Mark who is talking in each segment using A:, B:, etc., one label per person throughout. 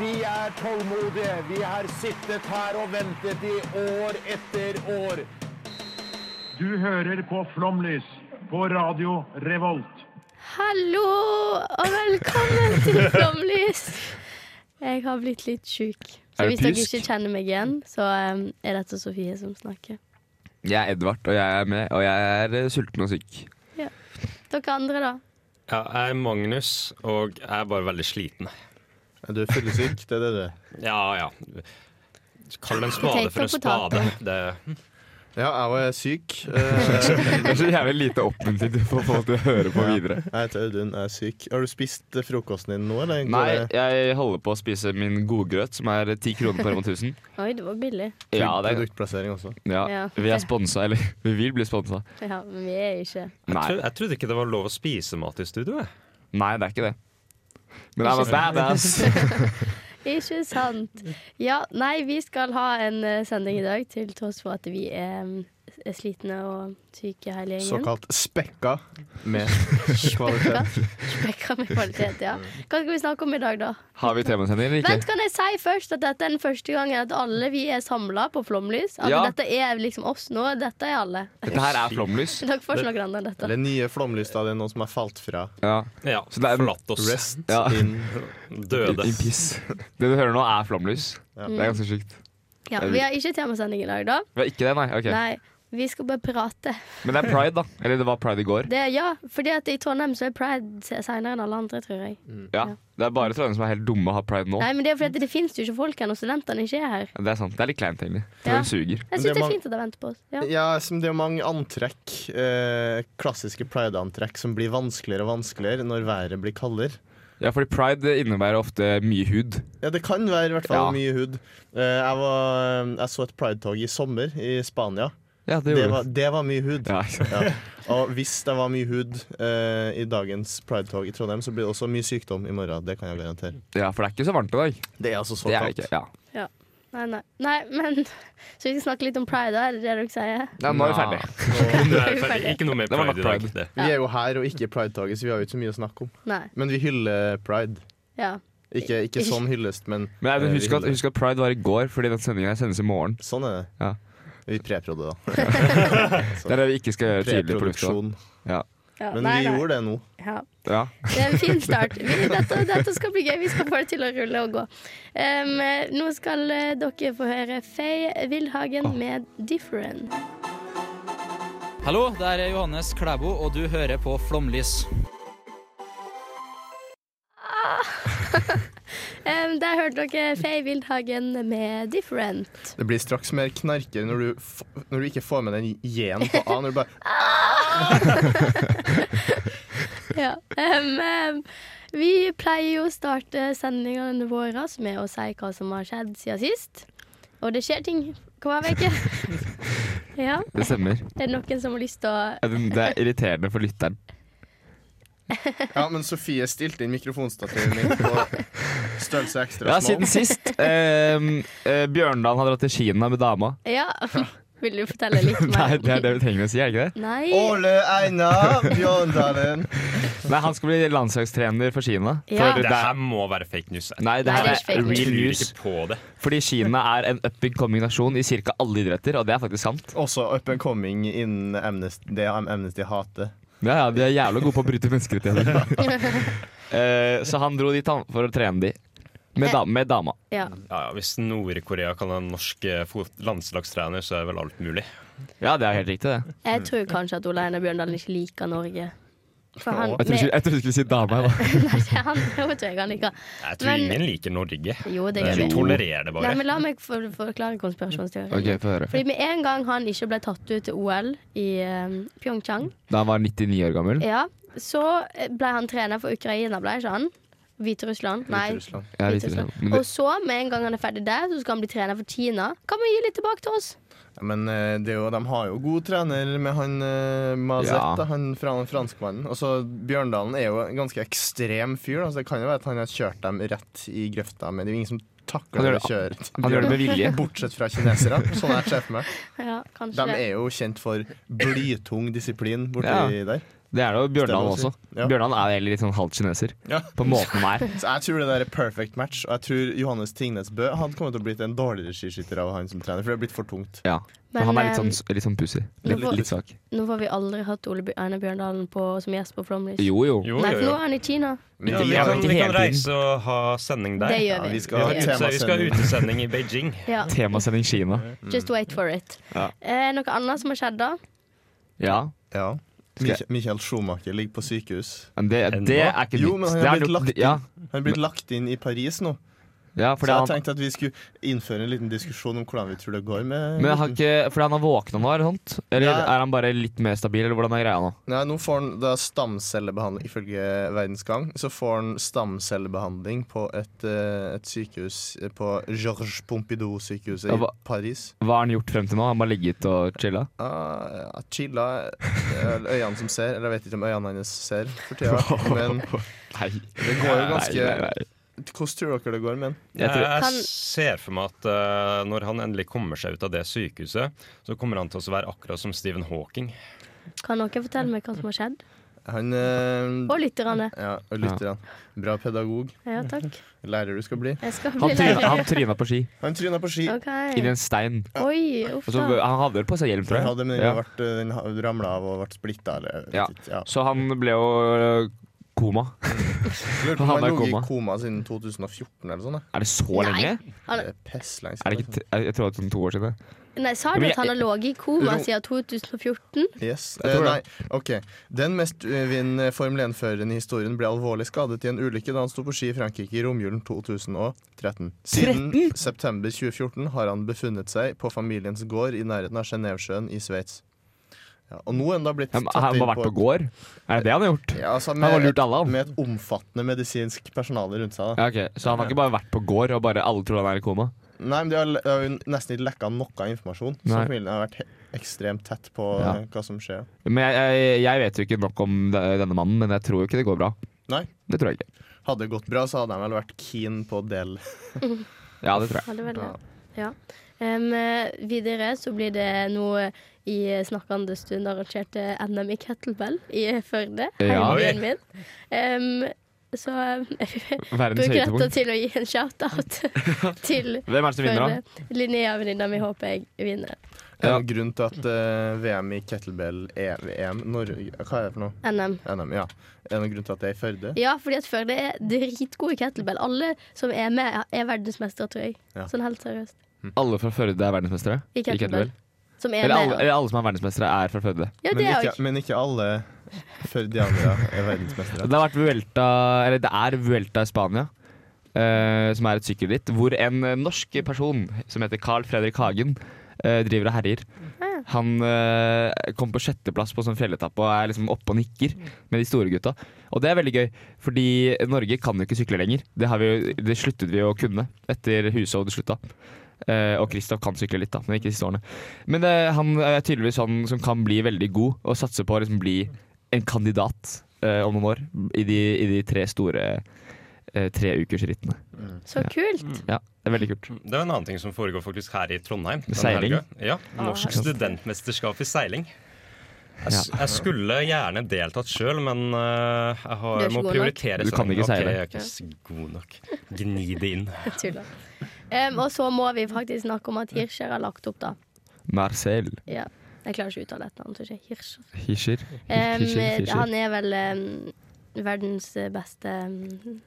A: Vi er tålmodige. Vi har sittet her og ventet i år etter år.
B: Du hører på Flomlys på Radio Revolt.
C: Hallo og velkommen til Flomlys. Jeg har blitt litt sjuk. Så
D: Er du
C: hvis dere
D: pysk?
C: ikke kjenner meg igjen, så um, er dette Sofie som snakker.
D: Jeg er Edvard, og jeg er med, og jeg er eh, sulten og syk.
C: Dere andre, da?
E: Ja, jeg er Magnus, og jeg er bare veldig sliten.
F: Du er fyllesyk, det er det du er.
E: Ja, ja. Kall en spade for en
C: Potet og
E: spade. Det,
F: Ja, jeg også er syk. Eh,
D: Det er så jævlig lite oppmuntrende for folk til å høre på videre.
F: Jeg heter Audun, jeg er syk. Har du spist eh, frokosten din nå, eller?
D: Nei, jeg holder på å spise min godgrøt, som er ti kroner på Rema 1000.
C: Oi, det var billig.
D: Ja, det er,
F: Produktplassering også.
D: ja,
C: Ja.
D: vi er sponsa, eller vi vil bli sponsa.
C: Ja, men vi er ikke
E: jeg,
D: Nei,
E: trodde, jeg trodde ikke det var lov å spise mat i studio. jeg.
D: nei, det er ikke det. Men det er bare badass.
C: Ikke sant. Ja, nei, vi skal ha en eh, sending i dag til tross for at vi er, um, er slitne og syke hele gjengen.
F: Såkalt spekka med kvalitet.
C: Spekka med kvalitet, ja. Hva skal vi snakke om i dag, da?
D: Har vi temasending eller
C: Vent,
D: ikke?
C: kan jeg si først at dette er den første gangen at alle vi er samla på Flomlys? At
D: Ja.
C: dette er liksom oss nå. Dette er alle.
D: Dette her er flomlys.
C: Dere får ikke noe annet enn dette.
F: Eller nye flomlysta, det er noen som har falt fra.
D: Ja.
E: Ja,
D: Så det er-
E: forlatt oss.
F: Rest
D: Ja.
F: in
E: Døde.
D: In peace. Det du hører nå, er flomlys. Det er ganske sjukt.
C: Ja, vi har ikke temasending i dag, da.
D: Vi har ikke det, nei? ok.
C: Nei. Vi skal bare prate.
D: Men det er pride, da. Eller det var pride i går.
C: Det, ja, fordi at i Trondheim så er pride seinere enn alle andre, tror jeg.
D: Ja. Det er bare Trondheim som er helt dumme og har pride nå.
C: Nei, men det er fordi at det fins jo ikke folk her når studentene ikke er her.
D: Ja, Det er sant. Det er litt kleint, egentlig.
C: Ja.
D: Trondheim suger.
C: Jeg syns det
F: det er Eh.
C: er
F: mange-
C: fint at de venter på oss. Ja.
F: Ja, som det er mange antrekk, eh, klassiske pride-antrekk, som blir vanskeligere og vanskeligere når været blir kaldere.
D: Ja, fordi pride innebærer ofte mye hud.
F: Ja, det kan være i hvert fall
D: Ja.
F: mye hud. Eh, jeg, var, jeg så et pridetog i sommer i Spania.
D: Ja,
F: Det var, det var mye hud.
D: Ja, ikke sant.
F: Ja. Og hvis det var mye hud eh, i dagens pridetog i Trondheim, så blir det også mye sykdom i morgen. Det kan jeg garantere.
D: ja, for det er ikke så varmt i dag.
F: Det er altså så
D: Det er det
F: kaldt.
D: ikke. Ja.
C: Nei, nei. nei, men Så vi skal snakke litt om pride, da? Er det det dere sier?
D: Ja, nå er vi
E: Nei.
D: ferdig.
E: Nå er jeg ferdig. Ikke noe mer
D: Det var nok
E: pride i dag.
D: pride.
E: Det.
F: Vi er jo her og ikke i pridetoget, så vi har jo ikke så mye å snakke om.
C: Nei.
F: Men vi hyller pride.
C: Ja.
F: Ikke, ikke sånn hyllest, men
D: Men jeg,
F: eh, vi
D: husk, at,
F: hyller.
D: husk at pride var i går, fordi den sendinga sendes i morgen.
F: Sånn er det.
D: Ja.
F: Vi preprodde, da.
D: Det er det vi ikke skal gjøre tydelig på lufta.
F: Preproduksjon.
C: ja.
F: Men
C: nei,
F: vi
C: nei.
F: gjorde det nå.
C: Ja.
D: Ja.
C: Det er en fin start. Vi, dette, dette skal bli gøy. Vi skal få det til å rulle og gå. Em, nå skal eh, dere få høre Faye Wilhagen med 'Different'.
G: Hallo, det er Johannes Klæbo, og du hører på Flomlys.
C: Em, der hørte dere Faye Wilhagen med 'Different'.
F: Det blir straks mer knarkere når du, f når du ikke får med den j-en på a. Når du bare
C: Ja. Em, em, vi pleier jo å starte sendingene våre med å si hva som har skjedd siden sist. Og det skjer ting hver uke. Ja.
D: Det stemmer.
C: Er det noen som har lyst til å
D: Ja, det- Det er irriterende for lytteren.
F: Ja, men Sofie stilte inn mikrofonstativet mitt på størrelse ekstra
D: Ja,
F: small.
D: siden sist. ehm, eh, Bjørndalen har dratt til Kina med dama.
C: Ja. Vil du fortelle litt mer?
D: Nei, det er det vi trenger å si, er det ikke det?
C: Nei.
F: Åle Einar Bjørndalen.
D: Nei, han skal bli landslagstrener for Kina. For
C: Ja.
D: det
E: det
D: er
E: her må være fake news. Jeg
D: Nei, det her
C: Nei, det er ikke
D: er
C: fake
D: real
E: tror
D: news.
E: ikke på det.
D: Fordi Kina er en up and coming nasjon i ca. alle idretter, og det er faktisk sant.
F: Også up and coming innen Amnesty, det Amnesty hater.
D: Ja, ja, De er jævla gode på å bryte menneskerettigheter. Eh, så han dro dit han, for å trene de. Med, da med dama.
C: Ja.
E: Ja, ja, Hvis Nord-Korea kan ha en norsk eh, fot- landslagstrener, så er vel alt mulig.
D: Ja, det er helt riktig, det.
C: Jeg tror kanskje at Ole Einar Bjørndalen ikke liker Norge. For han,
D: Jeg trodde ikke- jeg trodde du skulle si dama. Da.
C: nei, han, hun tror jeg han liker.
E: Jeg tror
C: Men-
E: ingen liker Norge.
C: Jo, det gjør
E: Vi
C: vi.
E: tolererer det
C: Nei,
E: bare.
C: men La meg for, forklare konspirasjonsteorien.
D: få høre.
C: Fordi Med en gang han ikke ble tatt ut til OL i eh, Pyeongchang, eh,
D: Da han var 99 år gammel?
C: ja, så ble han trener for Ukraina, ble ikke han? Hviterussland. Nei.
F: Hviterussland.
D: Jeg vet ikke.
C: Hviterussland.
D: Men
C: Og
D: det,
C: så, med en gang han er ferdig der, så skal han bli trener for Kina. Kan man gi litt tilbake til oss?
F: Ja, Men eh, det er jo, de har jo god trener med han eh, Mazet,
D: Ja.
F: da, han fran franskmannen. Og så Bjørndalen er jo en ganske ekstrem fyr. da, så det kan jo være at han har kjørt dem rett i grøfta, men det er jo ingen som
D: Han
F: takler
D: gjør
F: å kjøre
D: han
F: til
D: gjør det
F: Bjørndalen.
D: med vilje.
F: Bortsett fra kinesere, sånn jeg ser for meg.
C: Ja, kanskje
F: De er jo kjent for blytung disiplin borti
D: Ja.
F: der.
D: Det er det jo Bjørndalen også.
F: Stemmer også. Ja.
D: Bjørndalen er egentlig litt sånn halvt kineser.
F: Ja.
D: På måten han er.
F: Så jeg tror det der er perfect match, og jeg tror Johannes Tingnes Bø hadde kommet til å blitt en dårligere skiskytter av han som trener, for det er blitt for tungt.
D: Ja. Men,
C: Men,
D: han er litt
C: eh,
D: sånn, litt sånn pussig. Litt,
C: hvorfor-
D: litt svak.
C: Nå får vi aldri hatt Ole Bj- Arne Bjørndalen på, som gjest på Flåmlys.
D: Jo, jo.
E: Jo,
C: Nei,
E: jo,
C: for nå
E: jo.
C: er han i Kina.
D: Men
E: Ja,
D: det gjør
E: vi, kan,
D: han ikke
E: vi kan
D: hele
E: reise
D: tiden.
E: og ha sending der.
C: Det gjør
F: Ja,
C: vi.
F: vi skal ha
C: Det gjør
E: Så vi skal ha
F: temasending.
E: utesending i Beijing.
C: Ja,
D: Temasending Kina.
C: Just wait for it.
D: Mm. Ja.
C: Eh, noe annet som har skjedd, da?
D: Ja.
F: Ja.
D: Skal jeg-
F: Mich- Michael Schumacher ligger på sykehus.
D: Men det,
E: Ennå?
D: det er ikke nytt.
F: Jo, men han
D: Det
F: har
D: er
F: blitt
D: nok-
F: lagt inn.
D: ja,
F: Han er blitt lagt inn i Paris nå.
D: ja, fordi
F: så
D: han,
F: jeg tenkte at vi skulle innføre en liten diskusjon om hvordan vi tror det går med
D: men han, ikke, fordi han har våkna nå, eller sånt? Eller
F: Ja.
D: er han bare litt mer stabil, eller hvordan er greia nå?
F: Nei, nå får han da stamcellebehandling Ifølge Verdensgang så får han stamcellebehandling på et, eh, et sykehus eh, på Georges Pompidou-sykehuset
D: Ja,
F: i
D: hva-
F: Paris.
D: Hva har han gjort frem til nå? Han bare ligget og chilla?
F: Ah, ja, chilla eh, øynene som ser, eller jeg vet ikke om øynene hennes ser for tida. Men
D: Nei.
F: det går jo ganske
D: Nei, nei, nei.
F: Hvordan tror dere det går med han?
D: Jeg tror,
E: Jeg
C: Kan-
E: ser for meg at eh, når han endelig kommer seg ut av det sykehuset, så kommer han til å være akkurat som Stephen Hawking.
C: Kan noen fortelle meg hva som har skjedd?
F: Han eh,
C: Og lytterne.
F: ja, og lytterne. Bra pedagog.
C: Ja, takk.
F: Lærer du skal bli.
C: Jeg skal
D: han,
C: bli
D: tryna,
C: lærer.
D: han tryna på ski
F: Han tryna på ski.
C: OK.
D: inn i en stein.
C: Oi, uff
D: Og så,
C: da.
D: han hadde vel på seg hjelm,
F: Den
D: tror
F: hadde, men
D: jeg.
F: den,
D: Ja.
F: ble, den ramla av og ble splitta. Eller, jeg vet
D: Ja.
F: ikke, ja.
D: Så han ble jo øh, koma.
F: Lurer på
D: Han
F: om han
D: er i
F: lå i
D: koma.
F: koma siden 2014 eller sånn. da.
D: Er det så
C: Nei.
D: lenge?
C: Han,
F: Det er pestlenge
D: Er det ikke, t- jeg, jeg tror det er sånn to år siden.
C: nei, sa du
D: Men
C: at han har ligget i koma siden 2014?
F: Yes.
D: Jeg
F: Eh,
D: tror
F: nei, ok. Den mest uvinnende Formel 1-føreren i historien ble alvorlig skadet i en ulykke da han sto på ski i Frankrike i romjulen 2013. Siden september 2014 har han befunnet seg på familiens gård i nærheten av Genévesjøen i Sveits. Ja, og nå er han da blitt
D: Han,
F: tatt
D: han
F: inn
D: har vært på gård? Er det det han har gjort?
F: Ja, altså,
D: Han har
F: med,
D: lurt alle, han.
F: med et omfattende medisinsk personale rundt seg. Da.
D: Ja, ok. Så han har ikke bare vært på gård og bare alle tror han er i koma?
F: Nei, men De har, de har jo nesten ikke lekka noe informasjon. Så
D: Nei.
F: familien har vært he- ekstremt tett på
D: Ja.
F: eh, hva som skjer.
D: Men jeg, jeg, jeg vet jo ikke nok om de- denne mannen, men jeg tror jo ikke det går bra.
F: Nei.
D: Det tror jeg ikke.
F: Hadde det gått bra, så hadde de vel vært keen på å dele.
D: Ja, det tror jeg.
C: Ja, det var det. Ja. Em, eh, videre så blir det noe i eh, snakkende stund arrangert eh, NM i kettlebell i Førde.
D: Ja.
C: Hjembyen min. Em, så em, jeg
D: Verdens
C: bruker dette
D: høydepunkt.
C: til å gi en shout-out til
D: Hvem er det som vinner, da?
C: Førde. Linnea, venninna mi, håper jeg vinner.
D: Ja.
F: En grunn til at eh, VM i kettlebell E, er VM Norge Hva er det for noe?
C: NM.
F: NM, ja. Er det noen grunn til at det er i Førde?
C: Ja, fordi at Førde er dritgode i kettlebell. Alle som er med, er verdensmestere, tror jeg.
F: Ja.
C: Sånn helt seriøst.
D: Alle fra Førde er verdensmestere?
C: I kettlebell. Som er
D: Eller alle,
C: med.
D: eller alle som er verdensmestere, er fra Førde.
C: Ja,
F: men,
C: det er jo
F: ikke, men ikke alle førdianere er verdensmestere.
D: Det har vært Vuelta Eller det er Vuelta i Spania, eh, som er et sykkelritt, hvor en eh, norsk person som heter Carl Fredrik Hagen, eh, driver og herjer. Han eh, kom på sjetteplass på sånn fjelletappe og er liksom oppe og nikker med de store gutta. Og det er veldig gøy, fordi Norge kan jo ikke sykle lenger. Det, har vi jo, det sluttet vi å kunne etter Hushovd slutta. Eh, og Kristoff kan sykle litt, da, men ikke de siste årene. Men eh, han er tydeligvis han som kan bli veldig god, og satser på å liksom bli en kandidat eh, om noen år i de, i de tre store eh, treukersrittene.
C: Så kult!
D: Ja, det er veldig kult.
E: Det er en annen ting som foregår faktisk her i Trondheim. denne
D: Seiling?
E: helga. Ja, Norsk
C: Ah.
E: studentmesterskap i seiling. Jeg, s- jeg skulle gjerne deltatt sjøl, men eh, jeg
C: Du er
E: har,
C: ikke
E: må
C: god nok.
E: prioritere.
D: Du kan
E: seiling.
D: ikke
E: Ok,
D: seile.
E: Jeg er ikke s- god nok. Gni det inn.
C: Jeg tuller. Em, og så må vi faktisk snakke om at Hirscher har lagt opp, da.
D: Marcel
C: Ja. Jeg klarer ikke å uttale et navn. så ikke Hirscher.
D: Hischer.
C: Em, eh,
D: Hischer, Hischer.
C: han er vel em, verdens beste em,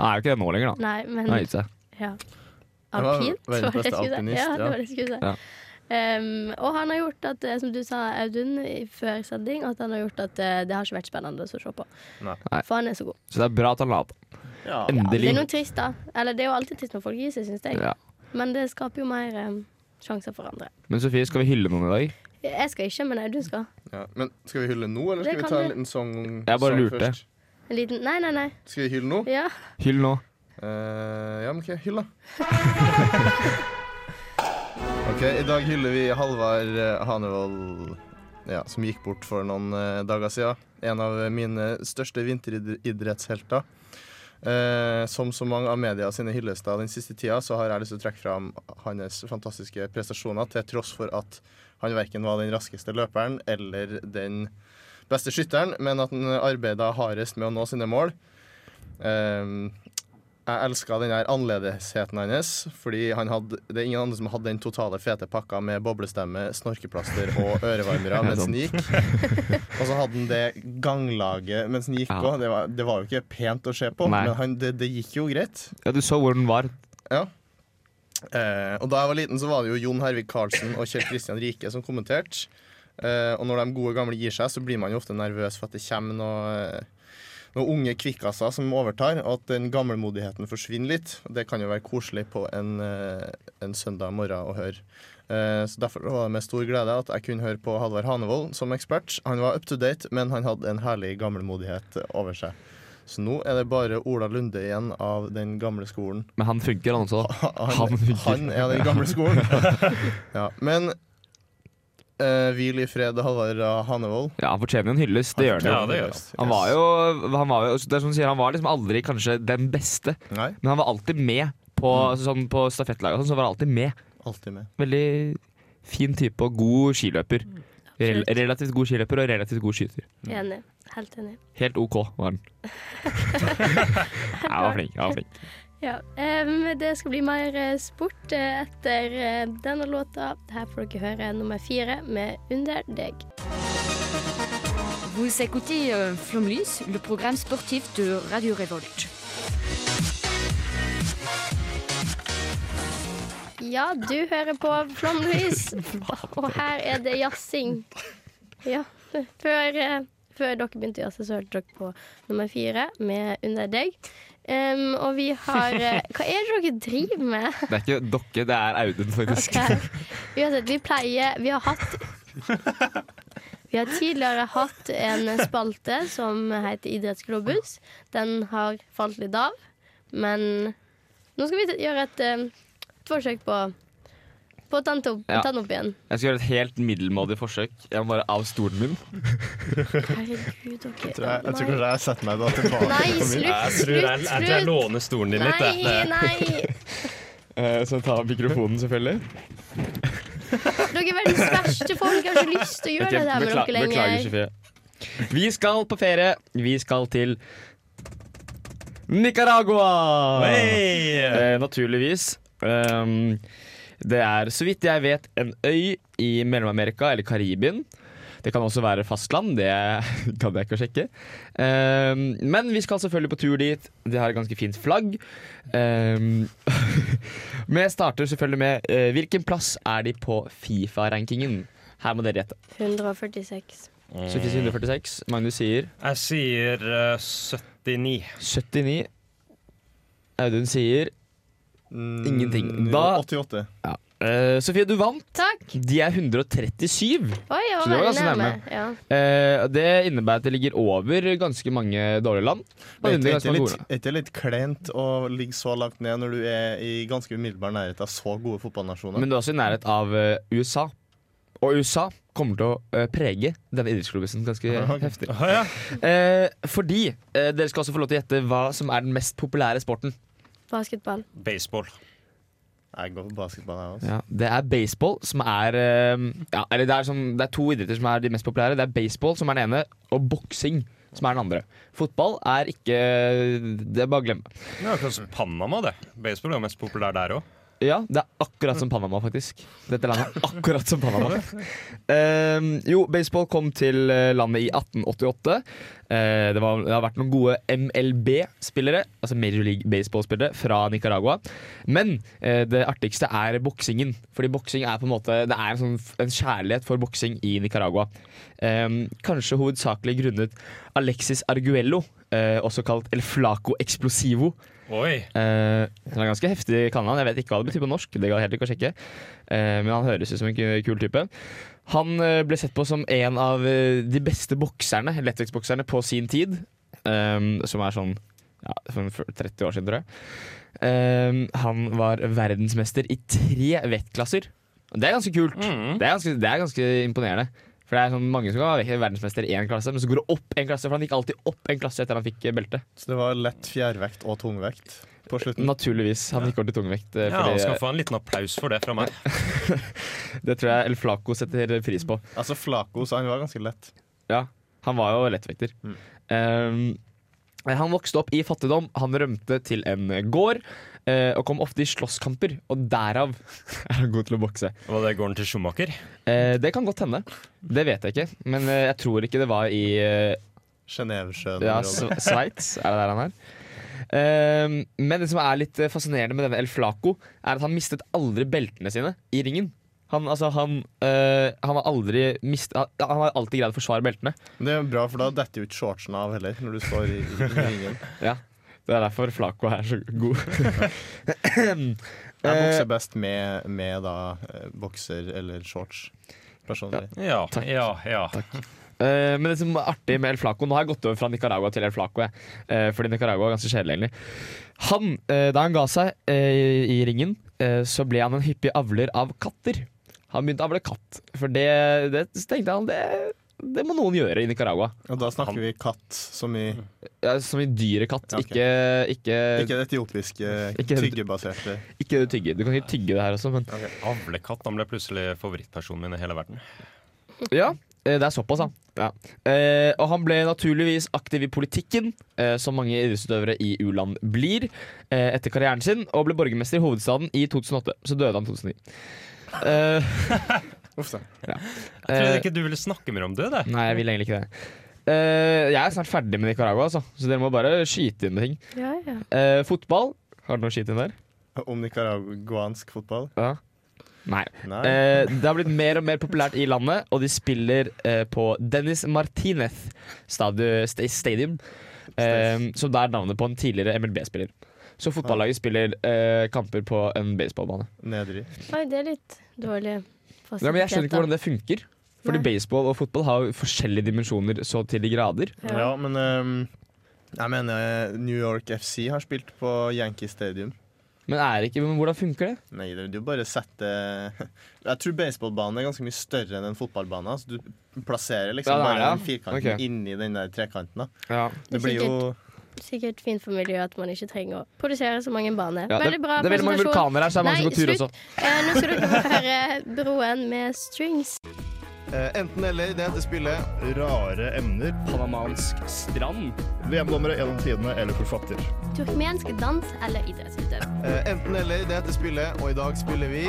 D: Han er jo ikke det nå lenger, da.
C: Nei, men
D: Han har gitt seg.
C: ja.
F: Han var
C: Alpint, var det
F: verdens
C: jeg
F: beste
C: skulle si?
F: alpinist,
C: Ja, det
F: ja.
C: var det jeg skulle si.
D: Ja.
C: Em, og han har gjort at, eh, som du sa, Audun, i- før sending, at han har gjort at eh, det har ikke vært spennende å se på.
F: Nei.
D: Nei.
C: For han er så god.
D: Så det er bra at han la opp.
F: Ja.
C: Det
D: Endelig.
C: er noe trist, da. Eller det er jo alltid trist når folk gir seg, syns jeg.
D: Ja.
C: Men det skaper jo mer em, sjanser for andre.
D: Men Sofie, skal vi hylle noen i dag?
C: Jeg skal ikke, men Audun skal.
F: Ja. Men skal vi hylle nå, eller
C: Det
F: skal vi
C: kan
F: ta en
C: du.
F: liten sang
D: Jeg bare
F: sang
D: lurte.
F: først?
C: En liten Nei, nei, nei.
F: Skal vi hylle nå?
C: Ja.
D: Hyll nå.
F: Eh, ja, men ok, hyll da. Ok, i dag hyller vi Halvard eh, Hanevold, ja, som gikk bort for noen eh, dager siden. En av mine største vinteridrettshelter. Eh, som så mange av media sine hyllester den siste tida, så har jeg lyst til å trekke fram hans fantastiske prestasjoner, til tross for at han verken var den raskeste løperen eller den beste skytteren, men at han arbeida hardest med å nå sine mål. Eh, jeg elska den her annerledesheten hans, fordi han hadde, det er ingen andre som hadde den totale fete pakka med boblestemme, snorkeplaster og ørevarmere mens han gikk. Og så hadde han det ganglaget mens han gikk
D: Ja.
F: òg. Det, var- det var jo ikke pent å se på,
D: Nei.
F: men han, det, det gikk jo greit.
D: Ja, du så hvor den var.
F: Eh, og da jeg var liten, så var det jo Jon Hervik Karlsen og Kjell Kristian Rike som kommenterte. Eh, og når de gode gamle gir seg, så blir man jo ofte nervøs for at det kommer noe noen unge kvikkaser som overtar, og at den gammelmodigheten forsvinner litt. Og Det kan jo være koselig på en, eh, en søndag morgen å høre. Eh, Så Derfor var det med stor glede at jeg kunne høre på Halvard Hanevold som ekspert. Han var up to date, men han hadde en herlig gammelmodighet over seg. Så nå er det bare Ola Lunde igjen av den gamle skolen.
D: Men han funker, han også. Han
F: Han,
D: funker.
F: han er den gamle skolen. Ja, men eh, hvil i fred, Halvard Hanevold.
D: Ja, Han fortjener en hyllest, det gjør han jo.
E: Ja, det gjør
D: Han var jo, han var jo det er som du sier, han var liksom aldri kanskje den beste,
F: Nei,
D: men han var alltid med på, altså, sånn, på stafettlaget. og Sånn, så var han alltid med.
F: alltid med.
D: Veldig fin type og god skiløper.
C: Mm,
D: Rel relativt god skiløper og relativt god skyter.
C: Enig. Helt enig.
D: Helt OK var han. Jeg var flink. jeg var flink
C: Ja, em, det skal bli mer eh, sport eh, etter eh, denne låta. Her får dere høre nummer fire med 'Under deg'.
H: Vous écoutez euh, Flomlys, le programme sportif de Radio Révolte.
C: Ja, du hører på Flomlys, og her er det jazzing. Ja. Før, eh, før dere begynte å jazze, så hørte dere på nummer fire med 'Under deg'. Em, og vi har eh, Hva er det dere driver med?
D: Det er ikke dokke, det er Audun, faktisk.
C: Ok. Uansett, vi pleier Vi har hatt Vi har tidligere hatt en spalte som heter Idrettsglobus. Den har falt litt av, men nå skal vi t- gjøre et eh, forsøk på på å ta den opp,
D: Ja.
C: ta den opp igjen.
D: Jeg skal gjøre et helt middelmådig forsøk. Jeg må bare av stolen min.
C: Herregud, dere
F: Jeg tror, jeg, jeg tror kanskje jeg setter meg da tilbake.
C: Nei,
F: på min.
C: slutt,
E: Jeg tror jeg,
C: slutt,
E: jeg, tror jeg
C: slutt!
E: låner stolen din litt. jeg.
C: Nei, nei!
D: eh, Så ta mikrofonen, selvfølgelig.
C: Dere er verdens verste folk. Jeg har ikke lyst til å gjøre det her med dere
D: beklager,
C: lenger.
D: Sofie. Vi skal på ferie. Vi skal til Nicaragua!
E: Hey!
D: Eh, naturligvis. Ehm, det er, så vidt jeg vet, en øy i Mellom-Amerika eller Karibien. Det kan også være fastland, det kan jeg ikke sjekke. Ehm, men vi skal selvfølgelig på tur dit. Det har et ganske fint flagg. Ehm, Vi starter selvfølgelig med eh, hvilken plass er de på Fifa-rankingen. Her må dere gjette.
C: 146.
D: Så fins 146. Magnus sier
E: Jeg sier eh, 79.
D: 79. Audun sier
F: Mm,
D: Ingenting.
F: jo,
D: Da-
F: 88.
D: eh, Sofie, du vant.
C: Takk.
D: De er
C: Oi,
D: 137.
C: jeg
D: Så
C: var
D: det var
C: veldig
D: ganske
C: nærme.
D: nærme.
C: Ja.
D: Eh, det innebærer at det ligger over ganske mange dårlige land. Og
F: Er
D: under ganske mange
F: ikke det
D: gode
F: litt,
D: land.
F: er ikke det litt kleint å ligge så langt ned når du er i ganske umiddelbar nærhet av så gode fotballnasjoner?
D: Men du er også i nærhet av eh, USA. Og USA kommer til å eh, prege denne idrettsklubben ganske heftig.
E: Å, ja.
D: Eh, fordi eh, dere skal også få lov til å gjette hva som er den mest populære sporten.
C: Basketball.
E: Baseball.
F: Jeg går for basketball, jeg også.
D: Ja, det er baseball som er eh, ja, Eller det er, sånn, det er to idretter som er de mest populære. Det er baseball som er den ene, og boksing som er den andre. Fotball er ikke Det er bare å glemme.
E: Det er akkurat som Panama, det. Baseball er jo mest populær der òg.
D: Ja, det er akkurat som Panama, faktisk. Dette landet er akkurat som Panama. Ehm, jo, baseball kom til eh, landet i 1888. Eh, det, var, det har vært noen gode MLB-spillere, altså Major League Baseball-spillere, fra Nicaragua. Men eh, det artigste er boksingen. Fordi boksing er på en måte Det er en, sånn, en kjærlighet for boksing i Nicaragua. Ehm, kanskje hovedsakelig grunnet Alexis Arguello, eh, også kalt El Flaco Explosivo.
E: Oi.
D: Eh, han er ganske heftig kallenavn. Jeg vet ikke hva det betyr på norsk. Det går helt ikke å sjekke Eh, Men han høres ut som en ku- kul type. Han eh, ble sett på som en av eh, de beste bokserne, lettvektsbokserne på sin tid. ehm, som er sånn ja, sånn 30 år siden, tror jeg. Ehm, han var verdensmester i tre vektklasser. Og Det er ganske kult.
E: Mm.
D: Det, er ganske, det er ganske imponerende. For det er sånn mange som kan være verdensmester i én klasse, men så går det opp en klasse. For han gikk alltid opp en klasse etter han fikk eh, belte.
F: Så det var lett fjærvekt og tungvekt på slutten.
D: Naturligvis. Han gikk over til tungvekt. eh,
E: Ja, han
D: fordi,
E: skal få en liten applaus for det fra meg.
D: det tror jeg El Flaco setter pris på.
F: Altså Flaco, så han var ganske lett.
D: Ja, han var jo lettvekter. Ehm, han vokste opp i fattigdom, han rømte til en gård eh, og kom ofte i slåsskamper. Og derav er han god til å bokse.
E: Var det gården til Schumacher?
D: Eh, det kan godt hende. Det vet jeg ikke. Men eh, jeg tror ikke det var i eh,
F: Genévesjøen.
D: ja, Sve- Sveits. Er det der han er? Ehm, men det som er litt eh, fascinerende med denne El Flaco, er at han mistet aldri beltene sine i ringen. Han, altså, han, eh, han har aldri mist, han, han har alltid greid å forsvare beltene.
F: Men det er bra, for da detter jo ikke shortsen av heller, når du står i, i ringen.
D: Ja, Det er derfor Flaco er så god. Eh,
F: Jeg bokser best med, med da eh, bokser eller shorts, personlig.
E: Ja, ja, ja.
D: Eh, men det som er artig med El Flaco Nå har jeg gått over fra Nicaragua til El Flaco. Jeg. Eh, fordi Nicaragua er ganske kjedelig, egentlig. Han, eh, da han ga seg eh, i, i ringen, eh, så ble han en hyppig avler av katter. Han begynte å avle katt, for det, det så tenkte han det, det må noen gjøre i Nicaragua.
F: Og da snakker vi katt som i
D: Mm. Ja, som i dyre katt,
F: Ja, ok.
D: ikke,
F: Ikke eh,
D: ikke,
F: det etiopiske,
D: Ikke-
F: tyggebaserte.
D: ikke det tygge. Du kan ikke tygge det her også, men
E: Avlekatt. Han ble plutselig favorittpersonen min i hele verden.
D: Ja, eh, det er såpass, han. Ja. Eh, og han ble naturligvis aktiv i politikken, eh, som mange idrettsutøvere i u-land blir, eh, etter karrieren sin, og ble borgermester i hovedstaden i 2008. Så døde han i 2009. Eh,
F: Uff da.
E: Jeg trodde ikke du ville snakke mer om det. det.
D: nei, jeg vil egentlig ikke det. Eh, jeg er snart ferdig med Nicaragua, altså, så dere må bare skyte inn med ting.
C: Ja, ja.
D: Eh, fotball. Har du noe å skyte inn der?
F: Om nicaraguansk fotball?
D: Ja. Nei.
F: Nei.
D: Eh, det har blitt mer og mer populært i landet, og de spiller eh, på Dennis Martinez stadi- sta- Stadium, eh, som da er navnet på en tidligere MLB-spiller. Så fotballaget spiller eh, kamper på en baseballbane.
F: Nedri.
C: Oi, det er litt dårlig
D: Ja, men jeg skjønner ikke hvordan det funker. Fordi
C: Nei.
D: baseball og fotball har jo forskjellige dimensjoner så til de grader.
F: Ja, men ehm, jeg mener eh, New York FC har spilt på Yankee Stadium.
D: Men, er ikke, men hvordan funker det?
F: Nei, det vil jo bare sette Jeg tror baseballbanen er ganske mye større enn en fotballbane. Så du plasserer liksom
D: Ja, det er
F: bare
D: det,
F: den firkanten
D: Ok.
F: inni den der trekanten. Da.
D: Ja.
F: Det
C: Det er
F: blir jo
C: Sikkert fint for miljøet at man ikke trenger å produsere så mange baner.
D: det,
C: veldig bra
D: det er veldig mange
C: presentasjon.
D: vulkaner her, så det er mange som
C: Nei,
D: går tur
C: slutt.
D: også.
C: Eh, nå skal dere få høre Broen med Strings.
F: eh, Enten eller, det heter spillet.
I: Rare emner.
D: Panamansk strand.
I: VM-dommere gjennom tidene eller forfatter.
C: Turkmensk dans eller idrettsutøvelse.
F: Eh, Enten eller, det heter spillet, og i dag spiller vi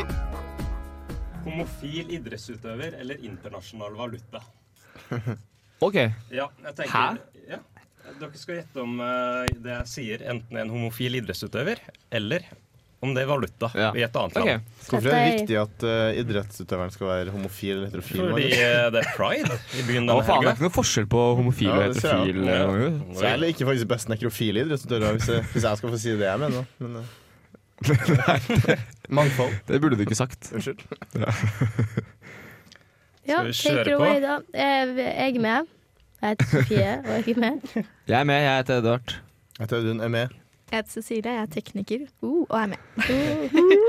E: Homofil idrettsutøver eller internasjonal valuta?
D: Ok.
E: Ja, jeg tenker,
D: Hæ?
E: Ja. Dere skal gjette om eh, det jeg sier, enten en homofil idrettsutøver eller om det er valuta
D: Ja.
E: i et annet
D: Ok.
E: land.
F: Hvorfor er det viktig at eh, idrettsutøveren skal være homofil eller heterofil?
E: Fordi
F: Marie?
E: eh, det er pride i
D: Å,
E: byen denne
D: faen, det er
E: helga.
D: ikke noe forskjell på homofil og
F: Ja, det ser jeg.
D: heterofil.
E: Ja.
D: eh,
F: Så jeg liker faktisk best nekrofile idrettsutøvere, hvis, jeg- hvis jeg skal få si det jeg mener. Men, eh, Mangfold.
D: Det burde du ikke sagt.
F: Unnskyld.
C: Ja, take
E: Skal vi
C: it
E: kjøre på?
C: away, da. Eh, jeg er med. Jeg heter Sofie, og jeg er med.
D: Jeg er med, jeg heter Edvard.
F: Jeg tror hun er med.
J: Jeg heter Cecilie, jeg er tekniker uh, og er med.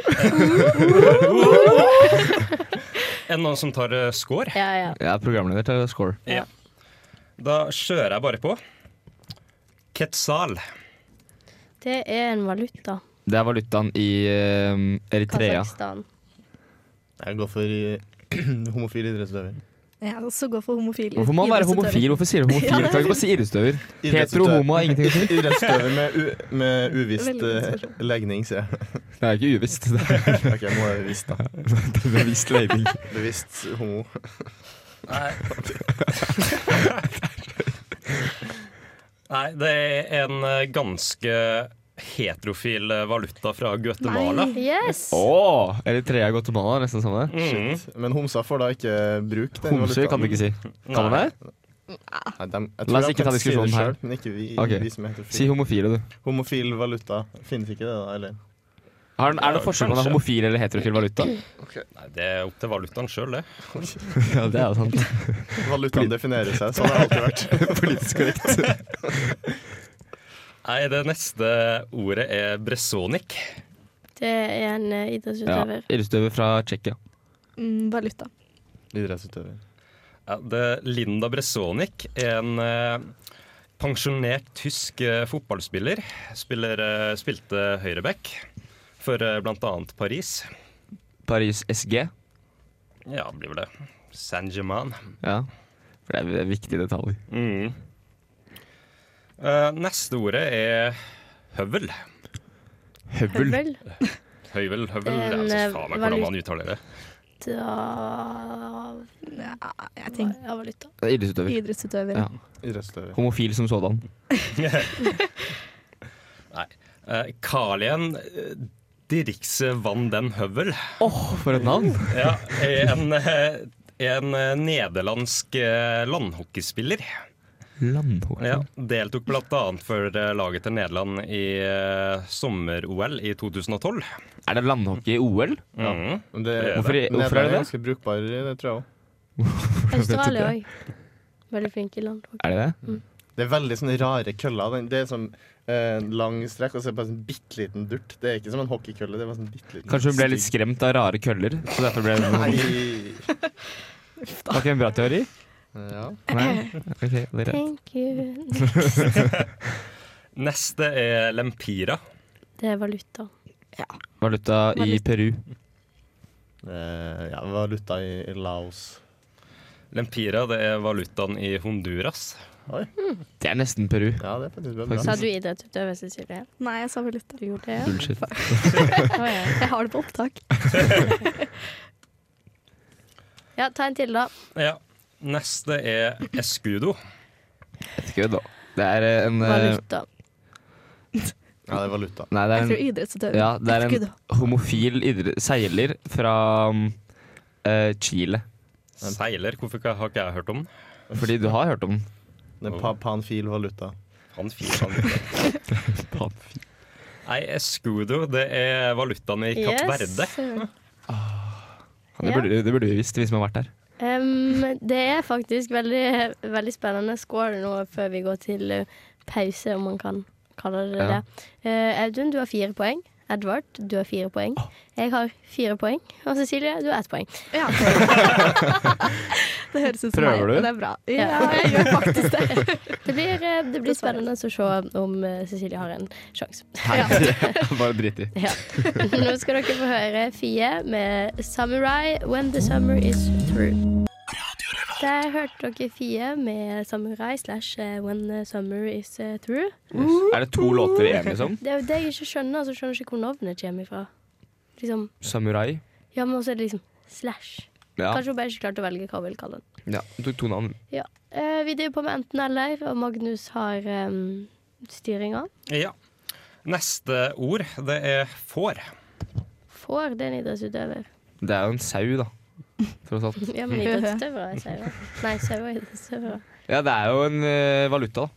E: Er det noen som tar eh, score?
C: Ja, ja.
D: Jeg er programleder til Score.
E: Ja. Da kjører jeg bare på. Quetzal.
C: Det er en valuta.
D: Det er valutaen i eh, Eritrea.
C: Kasakhstan.
F: Jeg går for eh, homofil idrettsutøver.
J: Jeg er også går for homofil.
D: Hvorfor må man være
J: idrettsutøver.
D: homofil? Hvorfor sier du homofil?
J: Ja, det er
D: Kan ikke bare si idrettsutøver. Hetero,
F: Idrettsutøver.
D: homo har ingenting å si.
F: Idrettsutøver med, u med uvisst
J: Veldig god
F: eh, legning, sier jeg.
D: Det er ikke uvisst. Det er
F: Ok, nå er det visst, da.
D: bevisst leiding.
F: Bevisst homo.
E: Nei. Nei, det er en eh, ganske heterofil eh, valuta fra Guatemala.
C: Yes!
D: Å! Eritrea og Guatemala er nesten sånn det.
E: Mm.
F: Men homsa får da ikke bruk den
D: Homser kan du ikke si. Kan man det?
F: Nei, dem- jeg tror
D: La oss
F: jeg
D: ikke ta
F: kan si det
D: diskusjonen her.
F: selv, Men ikke vi,
D: Ok.
F: vi som er heterofile.
D: Si homofile, du.
F: Homofil valuta. Finnes ikke det, da? Eller?
D: Har, den- er det
E: Ja,
D: forskjell på om det er
E: kanskje.
D: homofil eller heterofil valuta?
E: Nei, det er opp til valutaen sjøl, det.
D: ja, det er jo sant.
F: Valutaen definerer seg, sånn har det alltid vært.
D: Politisk korrekt.
E: Nei, det neste ordet er bresonic.
C: Det er en eh,
D: Ja,
C: idrettsutøver.
D: Yrstøver fra Tsjekkia.
J: Mm, valuta.
F: Idrettsutøver.
E: Ja, det, Linda Bresonic er en eh, pensjonert tysk eh, fotballspiller. Spiller, eh, spilte høyreback for eh, bl.a. Paris.
D: Paris SG.
E: Ja, det blir vel det. Saint-Germain.
D: Ja. For det er viktige detaljer.
E: Mm. Eh, neste ordet er høvel.
D: Høvel.
C: Høvel.
E: Høvel, høvel.
C: Det er en,
E: Jeg
C: eh,
E: syns faen meg hvordan
C: valut-
E: man uttaler det.
C: Da
J: Jeg tenker
C: Ja, valuta.
D: Det er Idrettsutøver.
J: idrettsutøver.
D: Ja. Homofil som sådan.
E: Nei. Eh, Karlien eh, Dirkse van den Høvel.
D: For et navn!
E: Ja, en, eh, en eh, nederlandsk eh, landhockeyspiller.
D: Landhår.
E: Ja, deltok bl.a. for eh, laget til Nederland i eh, sommer-OL i 2012.
D: Er det landhockey i OL?
E: Mhm.
F: Men Det,
E: Det er
D: Hvorfor, hvorfor er det det?
F: ganske brukbar i det, tror jeg også.
C: Australia òg. Veldig flink i landhockey.
D: Er det det?
F: Det er veldig sånne rare køller. Den- Det er sånn eh, lang strekk, og så er det bare en bitte liten durt. Det er ikke som en hockeykølle. det er bare sånn bitteliten
D: Kanskje hun ble litt
F: stygg-
D: skremt av rare køller? Så derfor ble hun Var
F: Nei.
D: ikke en bra teori?
F: Ja.
D: Nei? Ok, det er greit.
C: Thank you.
E: Neste er Lempira.
C: Det er valuta.
D: Valuta i
C: Valuta.
D: Peru.
F: Eh, ja, valuta i i Laos.
E: Lempira det er valutaen i Honduras.
D: Det er nesten Peru.
F: Ja, det er faktisk bra.
C: Sa du idrettsutøver, Cecilie?
J: Nei, jeg sa valuta.
C: Du gjorde det, ja?
D: Bullshit.
C: Å, ja.
J: Jeg har det på opptak.
C: Ja, ta en til, da.
E: Ja. Neste er Escudo.
D: Et kødd, da. Det er eh, en eh,
C: Valuta.
F: Ja, det er valuta.
D: Nei, det
J: Jeg
D: er
J: tror
D: en
J: idrettsutøver.
D: Ja, det er en
J: Gud.
D: homofil idre- seiler fra mm, eh, Chile.
E: Seiler, hvorfor ikke- har ikke jeg hørt om den?
D: Fordi du har hørt om den.
F: Det er pa panfil valuta.
E: Han fyren, han Nei, Escudo det er valutaen i Kapp Verde.
C: søren.
D: Det
C: Ja.
D: burde, det burde vi visst hvis man har vært der.
C: Em, det er faktisk veldig, veldig spennende score nå før vi går til eh, pause, om man kan kalle det
D: Ja.
C: det. Eh, Audun, du har fire poeng. Edvard, du har fire poeng. Jeg har fire poeng. Og Cecilie, du har ett poeng.
J: Ja. det høres ut som
D: Prøver
J: meg,
D: du?
J: men det er bra. Ja, jeg gjør faktisk det.
C: Det blir, eh, det blir
J: Dessverre.
C: spennende å se om eh, Cecilie har en sjanse.
D: Bare drit i.
C: Ja. Nå skal dere få høre Fie med 'Samurai When The Summer Is Through'. Der hørte dere Fie med 'Samurai slash eh, When The Summer Is eh, Through'.
D: Er det to låter liksom? vi er enige om?
C: Det er jo det jeg ikke skjønner, altså jeg skjønner ikke hvor navnet kommer ifra. Liksom,
D: Samurai.
C: ja, men også er det liksom slash.
D: Ja.
C: Kanskje hun bare ikke klarte å velge hva hun vil kalle den.
D: ja. Du tok to navn.
C: Eh, vi driver på med enten-eller, og Magnus har um, styringa.
E: Ja. Neste ord det er får.
C: Får det er en idrettsutøver.
D: Det er jo en sau, da. Tross alt.
C: Ja, men idrettsutøvere er sauer. Nei, sauer er idrettsutøvere.
D: Ja, det er jo en eh, valuta, da.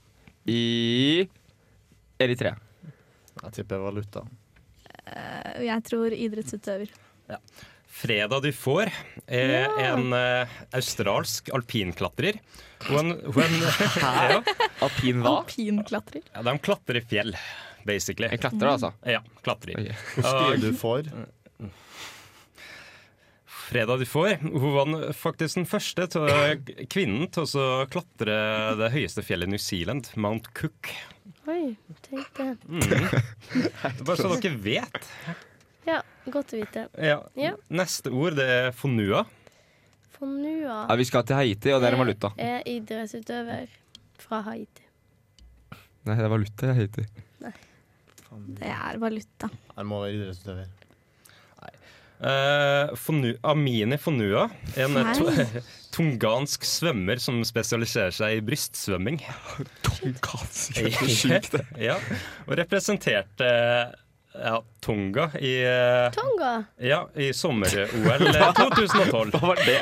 D: I Eritrea.
F: Jeg tipper valuta.
J: Jeg tror idrettsutøver.
E: Fredag du får er en eh, australsk alpinklatrer. Hun, hun, ja,
D: Alpin hva?
J: Alpinklatrer.
E: Ja, de klatrer i fjell, basically.
D: En klatrer, altså.
E: Ja, klatrer.
D: Ok.
F: Hvor skriver du får?
E: Fredag du får. Hun var faktisk den første til, å- kvinnen til å så klatre det høyeste fjellet i New Zealand, Mount Cook. Mm.
C: Oi, tenk det.
E: Bare så dere vet.
C: Ja, godt å vite.
E: Ja.
C: Ja.
E: Neste ord det er fonua.
D: Ja,
C: Fonua
D: vi skal til Haiti, og det er en valuta.
C: er idrettsutøver fra Haiti.
D: Nei, det er valuta i Haiti.
J: Det er valuta.
F: Jeg må være idrettsutøver.
E: Eh, Fonu- Amine Fonua, en eh,
J: Nei.
E: to- tungansk svømmer som spesialiserer seg i brystsvømming. ja, og representerte ja, Tonga i, eh,
C: Tonga!
E: ja, i sommer-OL eh, 2012.
D: Hva var det?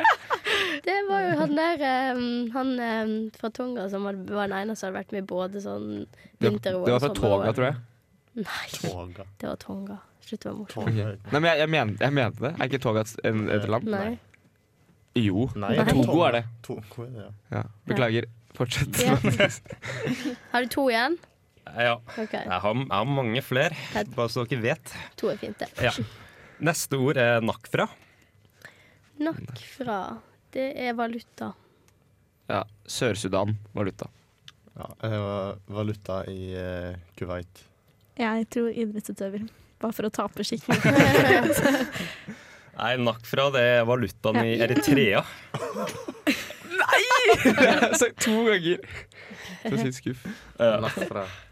C: Det var jo han der eh, Han eh, fra Tonga som hadde, var den eneste som hadde vært med i både sånn
D: Det
C: vinter-OL
D: var fra Toga, tror jeg.
C: Nei,
F: Toga.
C: det var Tonga. slutt å være morsom.
D: Ok. Nei, men jeg, jeg, mener, jeg mente det. Er ikke Toga et, en- et land?
C: Nei.
D: Jo.
F: Nei,
D: Togo er det.
F: Togo er det, ja.
D: Ja. Beklager. Fortsett.
C: Ja. Har du to igjen?
E: Ja.
C: Ok.
E: Jeg har, jeg har mange flere, bare så dere vet.
C: To er fint, det.
E: Ja. Neste ord er nakfra.
C: Nok fra Det er valuta.
D: Ja. Sør-Sudan, valuta.
F: Ja, det var valuta i eh, Kuwait.
J: Jeg tror idrettsutøver. Bare for å tape skikkelig.
E: Nei, nakfra det er valutaen i
J: Ja.
E: Eritrea.
D: Så to ganger. Så sykt skuff.
E: Eh,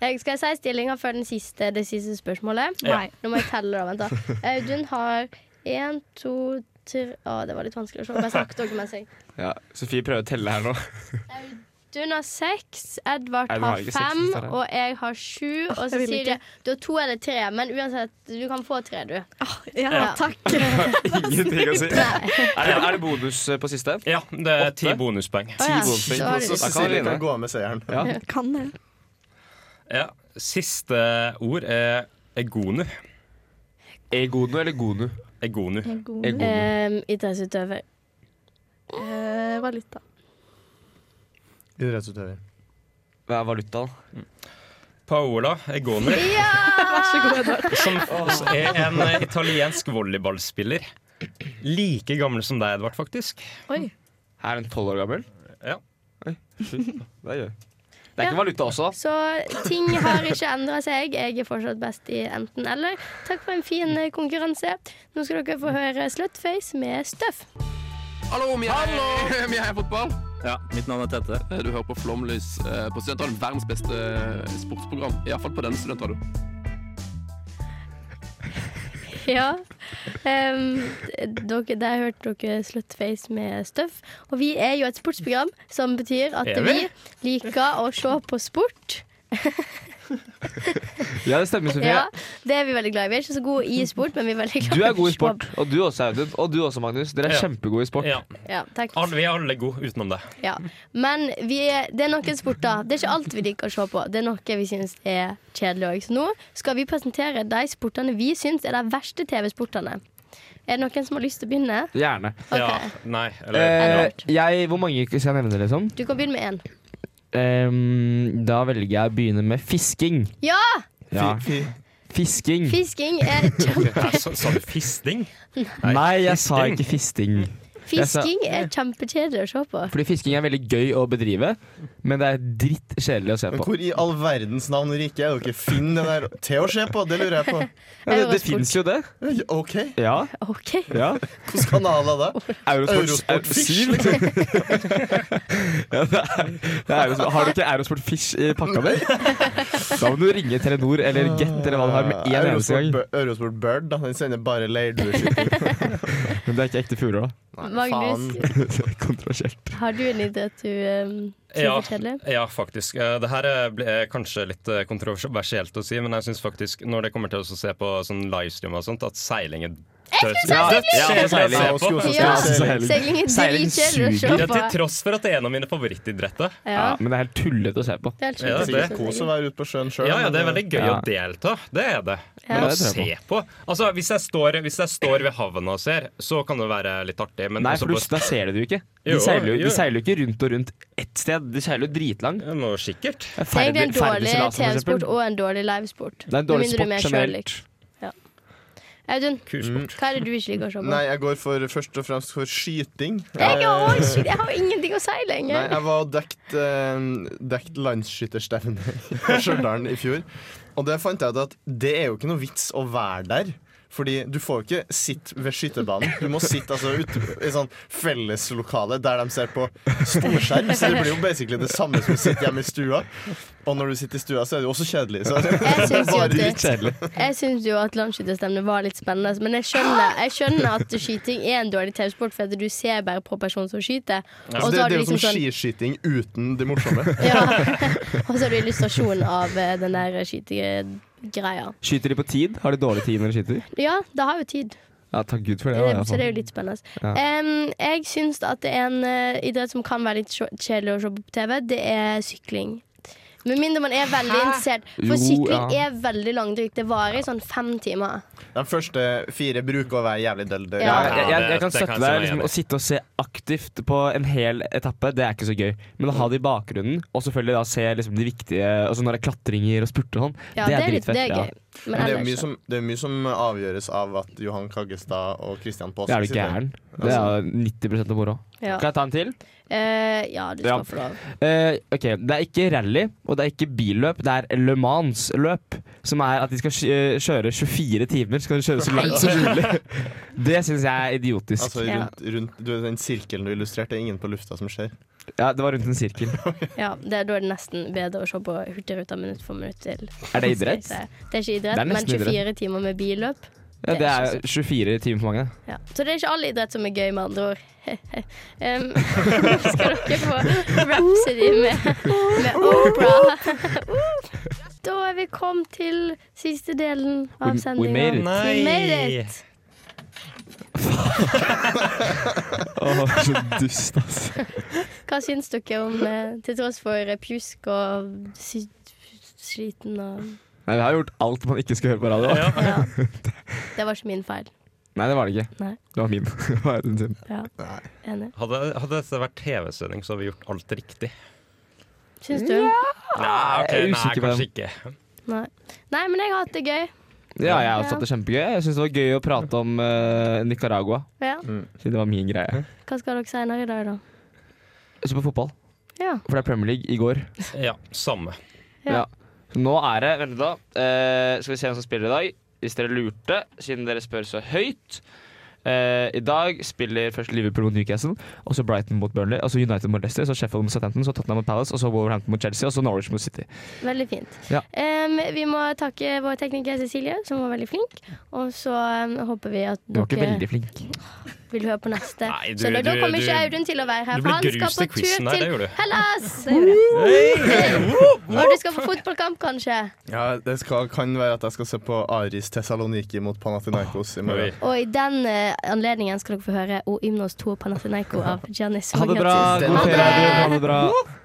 C: Jeg skal si stillinga før den siste, det siste spørsmålet.
E: Ja. Nei.
C: Nå må jeg telle, da. Vent, da. Audun har én, to, tre Å, det var litt vanskelig å se. Bare snakk dere mens jeg
D: Ja, Sofie prøver å telle her nå.
C: Audun har seks, Edvard
D: Nei, du har
C: har
D: ikke seks,
C: fem,
D: det står her.
C: og jeg har sju. Og så
J: jeg vil
C: sier de du har to eller tre, men uansett, du kan få tre, du.
J: ja,
C: Ja.
J: takk.
D: Ingenting å si. Er det, er det bonus eh, på siste?
E: Ja, det er ti bonuspoeng.
C: Å, ja.
D: bonuspoeng.
C: Sorry.
D: Da kan
F: Så
D: vi
F: Cecilie
D: vinne.
F: kan gå av med seieren.
D: Ja.
J: Kan det.
E: Ja. Siste ord er egonu.
D: Egono eller Gonu?
E: Egonu.
J: En god
D: Ego.
C: Ehm, Idrettsutøver.
J: Eh, valuta.
F: Idrettsutøver.
D: Hva er valuta, da?
E: Paola egonu,
J: Vær så god, Edvard.
E: som er en eh, italiensk volleyballspiller. Like gammel som deg, Edvard, faktisk.
J: Oi.
D: Er den tolv år gammel?
E: Ja.
D: Oi, shit. Det er gøy. Det er ikke valuta også, da.
C: Så ting har ikke endra seg. Jeg er fortsatt best i enten-eller. Takk for en fin eh, konkurranse. Nå skal dere få høre Slutface med Stuff.
K: Hallo, vi er, vi er fotball. Ja, Mitt navn er Tette. Du hører på Flomlys eh, på Studentradioen. Verdens beste eh, sportsprogram. Iallfall på denne studentradioen.
C: Ja. Em, dere, der hørte dere Slutface med Stuff. Og vi er jo et sportsprogram, som betyr at
E: Er
C: vi
E: vi?
C: liker å se på sport.
D: Ja, det stemmer, Sofie.
C: Ja, det er vi veldig glad i. Vi er ikke så gode i sport, men vi er veldig glad
D: Du er god
C: å
D: i
C: se
D: sport, og du også, Audun. Og du også, Magnus. Dere er
E: Ja.
D: kjempegode i sport.
E: Ja.
C: på- Ja, takk.
E: Alle- Vi er alle gode utenom det.
C: Ja. Men vi er, det er noen sporter. Det er ikke alt vi liker å se på. Det er noe vi syns er kjedelig òg. Så nå skal vi presentere de sportene vi syns er de verste TV-sportene. Er det noen som har lyst til å begynne?
D: Gjerne.
C: Ok.
E: Ja, nei, eller
D: Eh, jeg, hvor mange skal jeg nevne, liksom?
C: Du kan begynne med én.
D: Ehm, da velger jeg å begynne med fisking.
C: Ja!
D: Ja.
F: Fi-
D: Fisking.
C: Fisking er kjempe...
E: ja. Sa eh, sa du fisting?
D: Nei, jeg sa
E: fisting.
D: ikke fisting.
C: Fisking er kjempekjedelig å se på.
D: Fordi fisking er veldig gøy å bedrive, men det er drittkjedelig å se
F: Men
D: på.
F: hvor i all verdens navn og rike er dere finn det der til å se på? Det lurer jeg på.
D: Ja, det det
C: Eurosport.
D: fins jo det.
F: Ja, OK,
D: Ja.
C: OK.
D: ja.
F: hvilke kanaler da?
D: Eurosport,
F: Eurosport
D: eh,
F: Fish,
D: syv. ja, det er, det er Eurosport. Har du ikke Eurosport Fish i pakka di? Da må du ringe Telenor eller Get eller hva du har med en eneste
F: Eurosport,
D: gang.
F: Bu- Eurosport Bird, da. Den sender bare leirdueskyting.
D: Men det er ikke ekte fugler, da.
C: Magnus,
D: Det er Kontroversielt.
C: har du en idrett du um, syns
E: Ja,
C: er kjedelig?
E: ja, faktisk. Eh, Det her er bl- er kanskje litt eh, kontroversielt å si, men jeg syns faktisk, når det kommer til å se på sånn livestream og sånt, at seiling er døds-
D: Ja, ja,
E: dødskjedelig å se
D: seiling.
E: på.
F: skulle også
C: Ja, altså,
F: si seiling.
C: seiling er dritkjedelig
D: Seiling
C: å
D: suger.
C: se
E: Ja,
C: på.
E: til tross for at det er en av mine favorittidretter.
C: Ja,
D: Ja, men det er helt tullete å se på.
C: det er helt
E: Ja,
C: sjukt.
F: Det er kos å være ute på sjøen eh, sjøl.
E: Ja, ja, det er veldig gøy
D: Ja.
E: å delta. Det er det. Men
C: Ja,
E: å
D: det tror
E: se
D: jeg
E: på Altså, hvis jeg står, hvis jeg står ved havna og ser, så kan det være litt artig, men
D: Nei,
E: også
D: for du,
E: på-
D: da ser du det jo ikke. De
E: Jo,
D: seiler jo,
E: jo.
D: de seiler jo ikke rundt og rundt ett sted. De seiler jo dritlang.
E: Ja, nå sikkert.
C: Det er egentlig en dårlig
D: Ferdigseilasen, for eksempel.
C: TV-sport og en dårlig livesport.
D: Det er en
C: Med
D: dårlig
C: mindre du
D: sport
C: er sjøl
D: generelt.
C: lik. Audun,
D: Mm.
E: Kursport.
C: hva er det du ikke liker å se på?
F: Nei, jeg går for, først og fremst for skyting.
C: Jeg, har
F: Eh,
C: også, jeg har ingenting å si
F: Nei,
C: lenger.
F: jeg var og dekt, eh, dekt landsskytterstevne i Stjørdal i fjor. Og det fant jeg ut at det er jo ikke noe vits å være der. Fordi du får jo ikke sitte ved skytebanen. Du må sitte altså ute i sånn felleslokale der de ser på storskjerm. Så det blir jo basically det samme som å sitte hjemme i stua. Og når du sitter i stua, så er det jo også kjedelig. Så
C: Jeg syns jo at,
D: Litt kjedelig.
C: jeg synes jo at landsskytterstevnet var litt spennende, men jeg skjønner, jeg skjønner at skyting er en dårlig TV-sport, for at du ser bare på personen som skyter. Og
F: Altså,
C: så
F: det,
C: har
F: det
C: du
F: er jo
C: liksom
F: som
C: sånn
F: skiskyting uten det morsomme.
C: ja. Og så har du illustrasjon av eh, den der skytegreia.
D: Skyter de på tid? Har de dårlig tid når de skyter?
C: Ja, det har jo tid.
D: Ja, takk gud for det. sånn. da, i
C: Eh, Så
D: hvert fall.
C: det er jo litt spennende.
D: Ja.
C: Em, jeg syns at det er en eh, idrett som kan være litt sjå- kjedelig å se på på TV, det er sykling. Med mindre man er veldig interessert.
F: Jo,
C: For sykling
F: ja.
C: er veldig langdrygt. Det varer i sånn fem timer.
F: De første fire bruker å være jævlig døll.
C: Ja. Ja,
D: jeg, jeg, jeg kan støtte deg. Liksom, å sitte og se aktivt på en hel etappe, det er ikke så gøy. Men å
C: Mm.
D: ha det i bakgrunnen, og selvfølgelig da se liksom, de viktige altså Når det er klatringer og spurter og sånn,
C: Ja,
D: det er,
C: det er litt-
D: dritfett.
C: det er
D: ja.
C: gøy.
F: Men det er, mye som, det er mye som avgjøres av at Johan Kaggestad og Christian Paasen
D: Det er du gæren. Det er jo 90 av moroa.
C: Altså. Ja.
D: Kan jeg ta en til?
C: Eh, ja, du skal
D: Ja.
C: få lov.
D: Eh, ok, Det er ikke rally, og det er ikke billøp. Det er Le Mans-løp. Som er at de skal kj- eh, kjøre 24 timer. Skal de kjøre så langt som mulig. Det syns jeg er idiotisk.
F: Altså, rundt, rundt, du, den sirkelen du illustrerte, det er ingen på lufta som skjer.
D: Ja, det var rundt en sirkel.
C: Ja, det, da er det nesten bedre å se på Hurtigruta minutt for minutt til.
D: Er det idrett?
C: Det er ikke idrett,
D: Det er nesten
C: men 24 timer med billøp.
D: Ja, det er 24 timer for mange.
C: Ja. Så det er ikke all idrett som er gøy, med andre ord. um, nå skal dere få Rhapsody med, med Opera. da er vi kommet til siste delen
D: We-
C: av
D: we made
C: sendinga.
D: it. Nei.
C: it.
D: Åh, så dust, ass.
C: Hva syns dere om eh, Til tross for eh, pjusk og sy sliten og
D: Nei, Vi har gjort alt man ikke skal høre på radio.
C: Det var ikke min feil.
D: Nei, det var det ikke.
C: Nei.
D: Det var min. Det var den sin.
C: Ja. Enig.
E: Hadde, hadde dette vært TV-sending, så hadde vi gjort alt riktig.
C: Syns du?
E: Nei, ok,
D: Jeg er
E: nei
D: usikker på
E: kanskje ikke.
C: Nei. Nei, men jeg har hatt det gøy.
D: Ja, jeg har også hatt det kjempegøy. Jeg syns det var gøy å prate om eh, Nicaragua.
C: Ja.
D: Siden det var min greie.
C: Hva skal dere senere i dag, da?
D: Jeg så på fotball,
C: Ja.
D: for det er Premier League i går.
E: Ja, samme.
D: Ja. Så Nå er det Vent litt, da. Eh, skal vi se hvem som spiller i dag. Hvis dere lurte, siden dere spør så høyt. Eh, I dag spiller først Liverpool mot Newcastle, og så Brighton mot Burnley, og så United mot Leicester, så Sheffield mot Southampton, så Tottenham mot Palace, og så Wolverhampton mot Chelsea, og så Norwich mot City.
C: Veldig fint.
D: Ja.
C: Em, vi må takke vår tekniker Cecilie, som var veldig flink. Og så em, håper vi at
D: Du var ikke veldig
C: dere
D: flink.
C: vil høre på neste.
D: Nei, du-
C: så da, da
D: du-
C: kommer
D: du-
C: ikke Audun til å være her, for
D: du ble
C: han skal
D: grust
C: på
D: i
C: tur
D: quizen. Nei, det
C: til
D: gjorde du.
C: Hellas! Det gjorde jeg. Og du skal på fotballkamp, kanskje.
F: Ja, Det skal, kan være at jeg skal se på Aris Thessaloniki mot Panathinaikos i morgen.
C: Og i den eh, anledningen skal dere få høre O Ymnos 2 Panathinaiko av Giannis
F: Ha det bra.
C: Sorigatis.
F: God ferie, Audun. Ha det bra.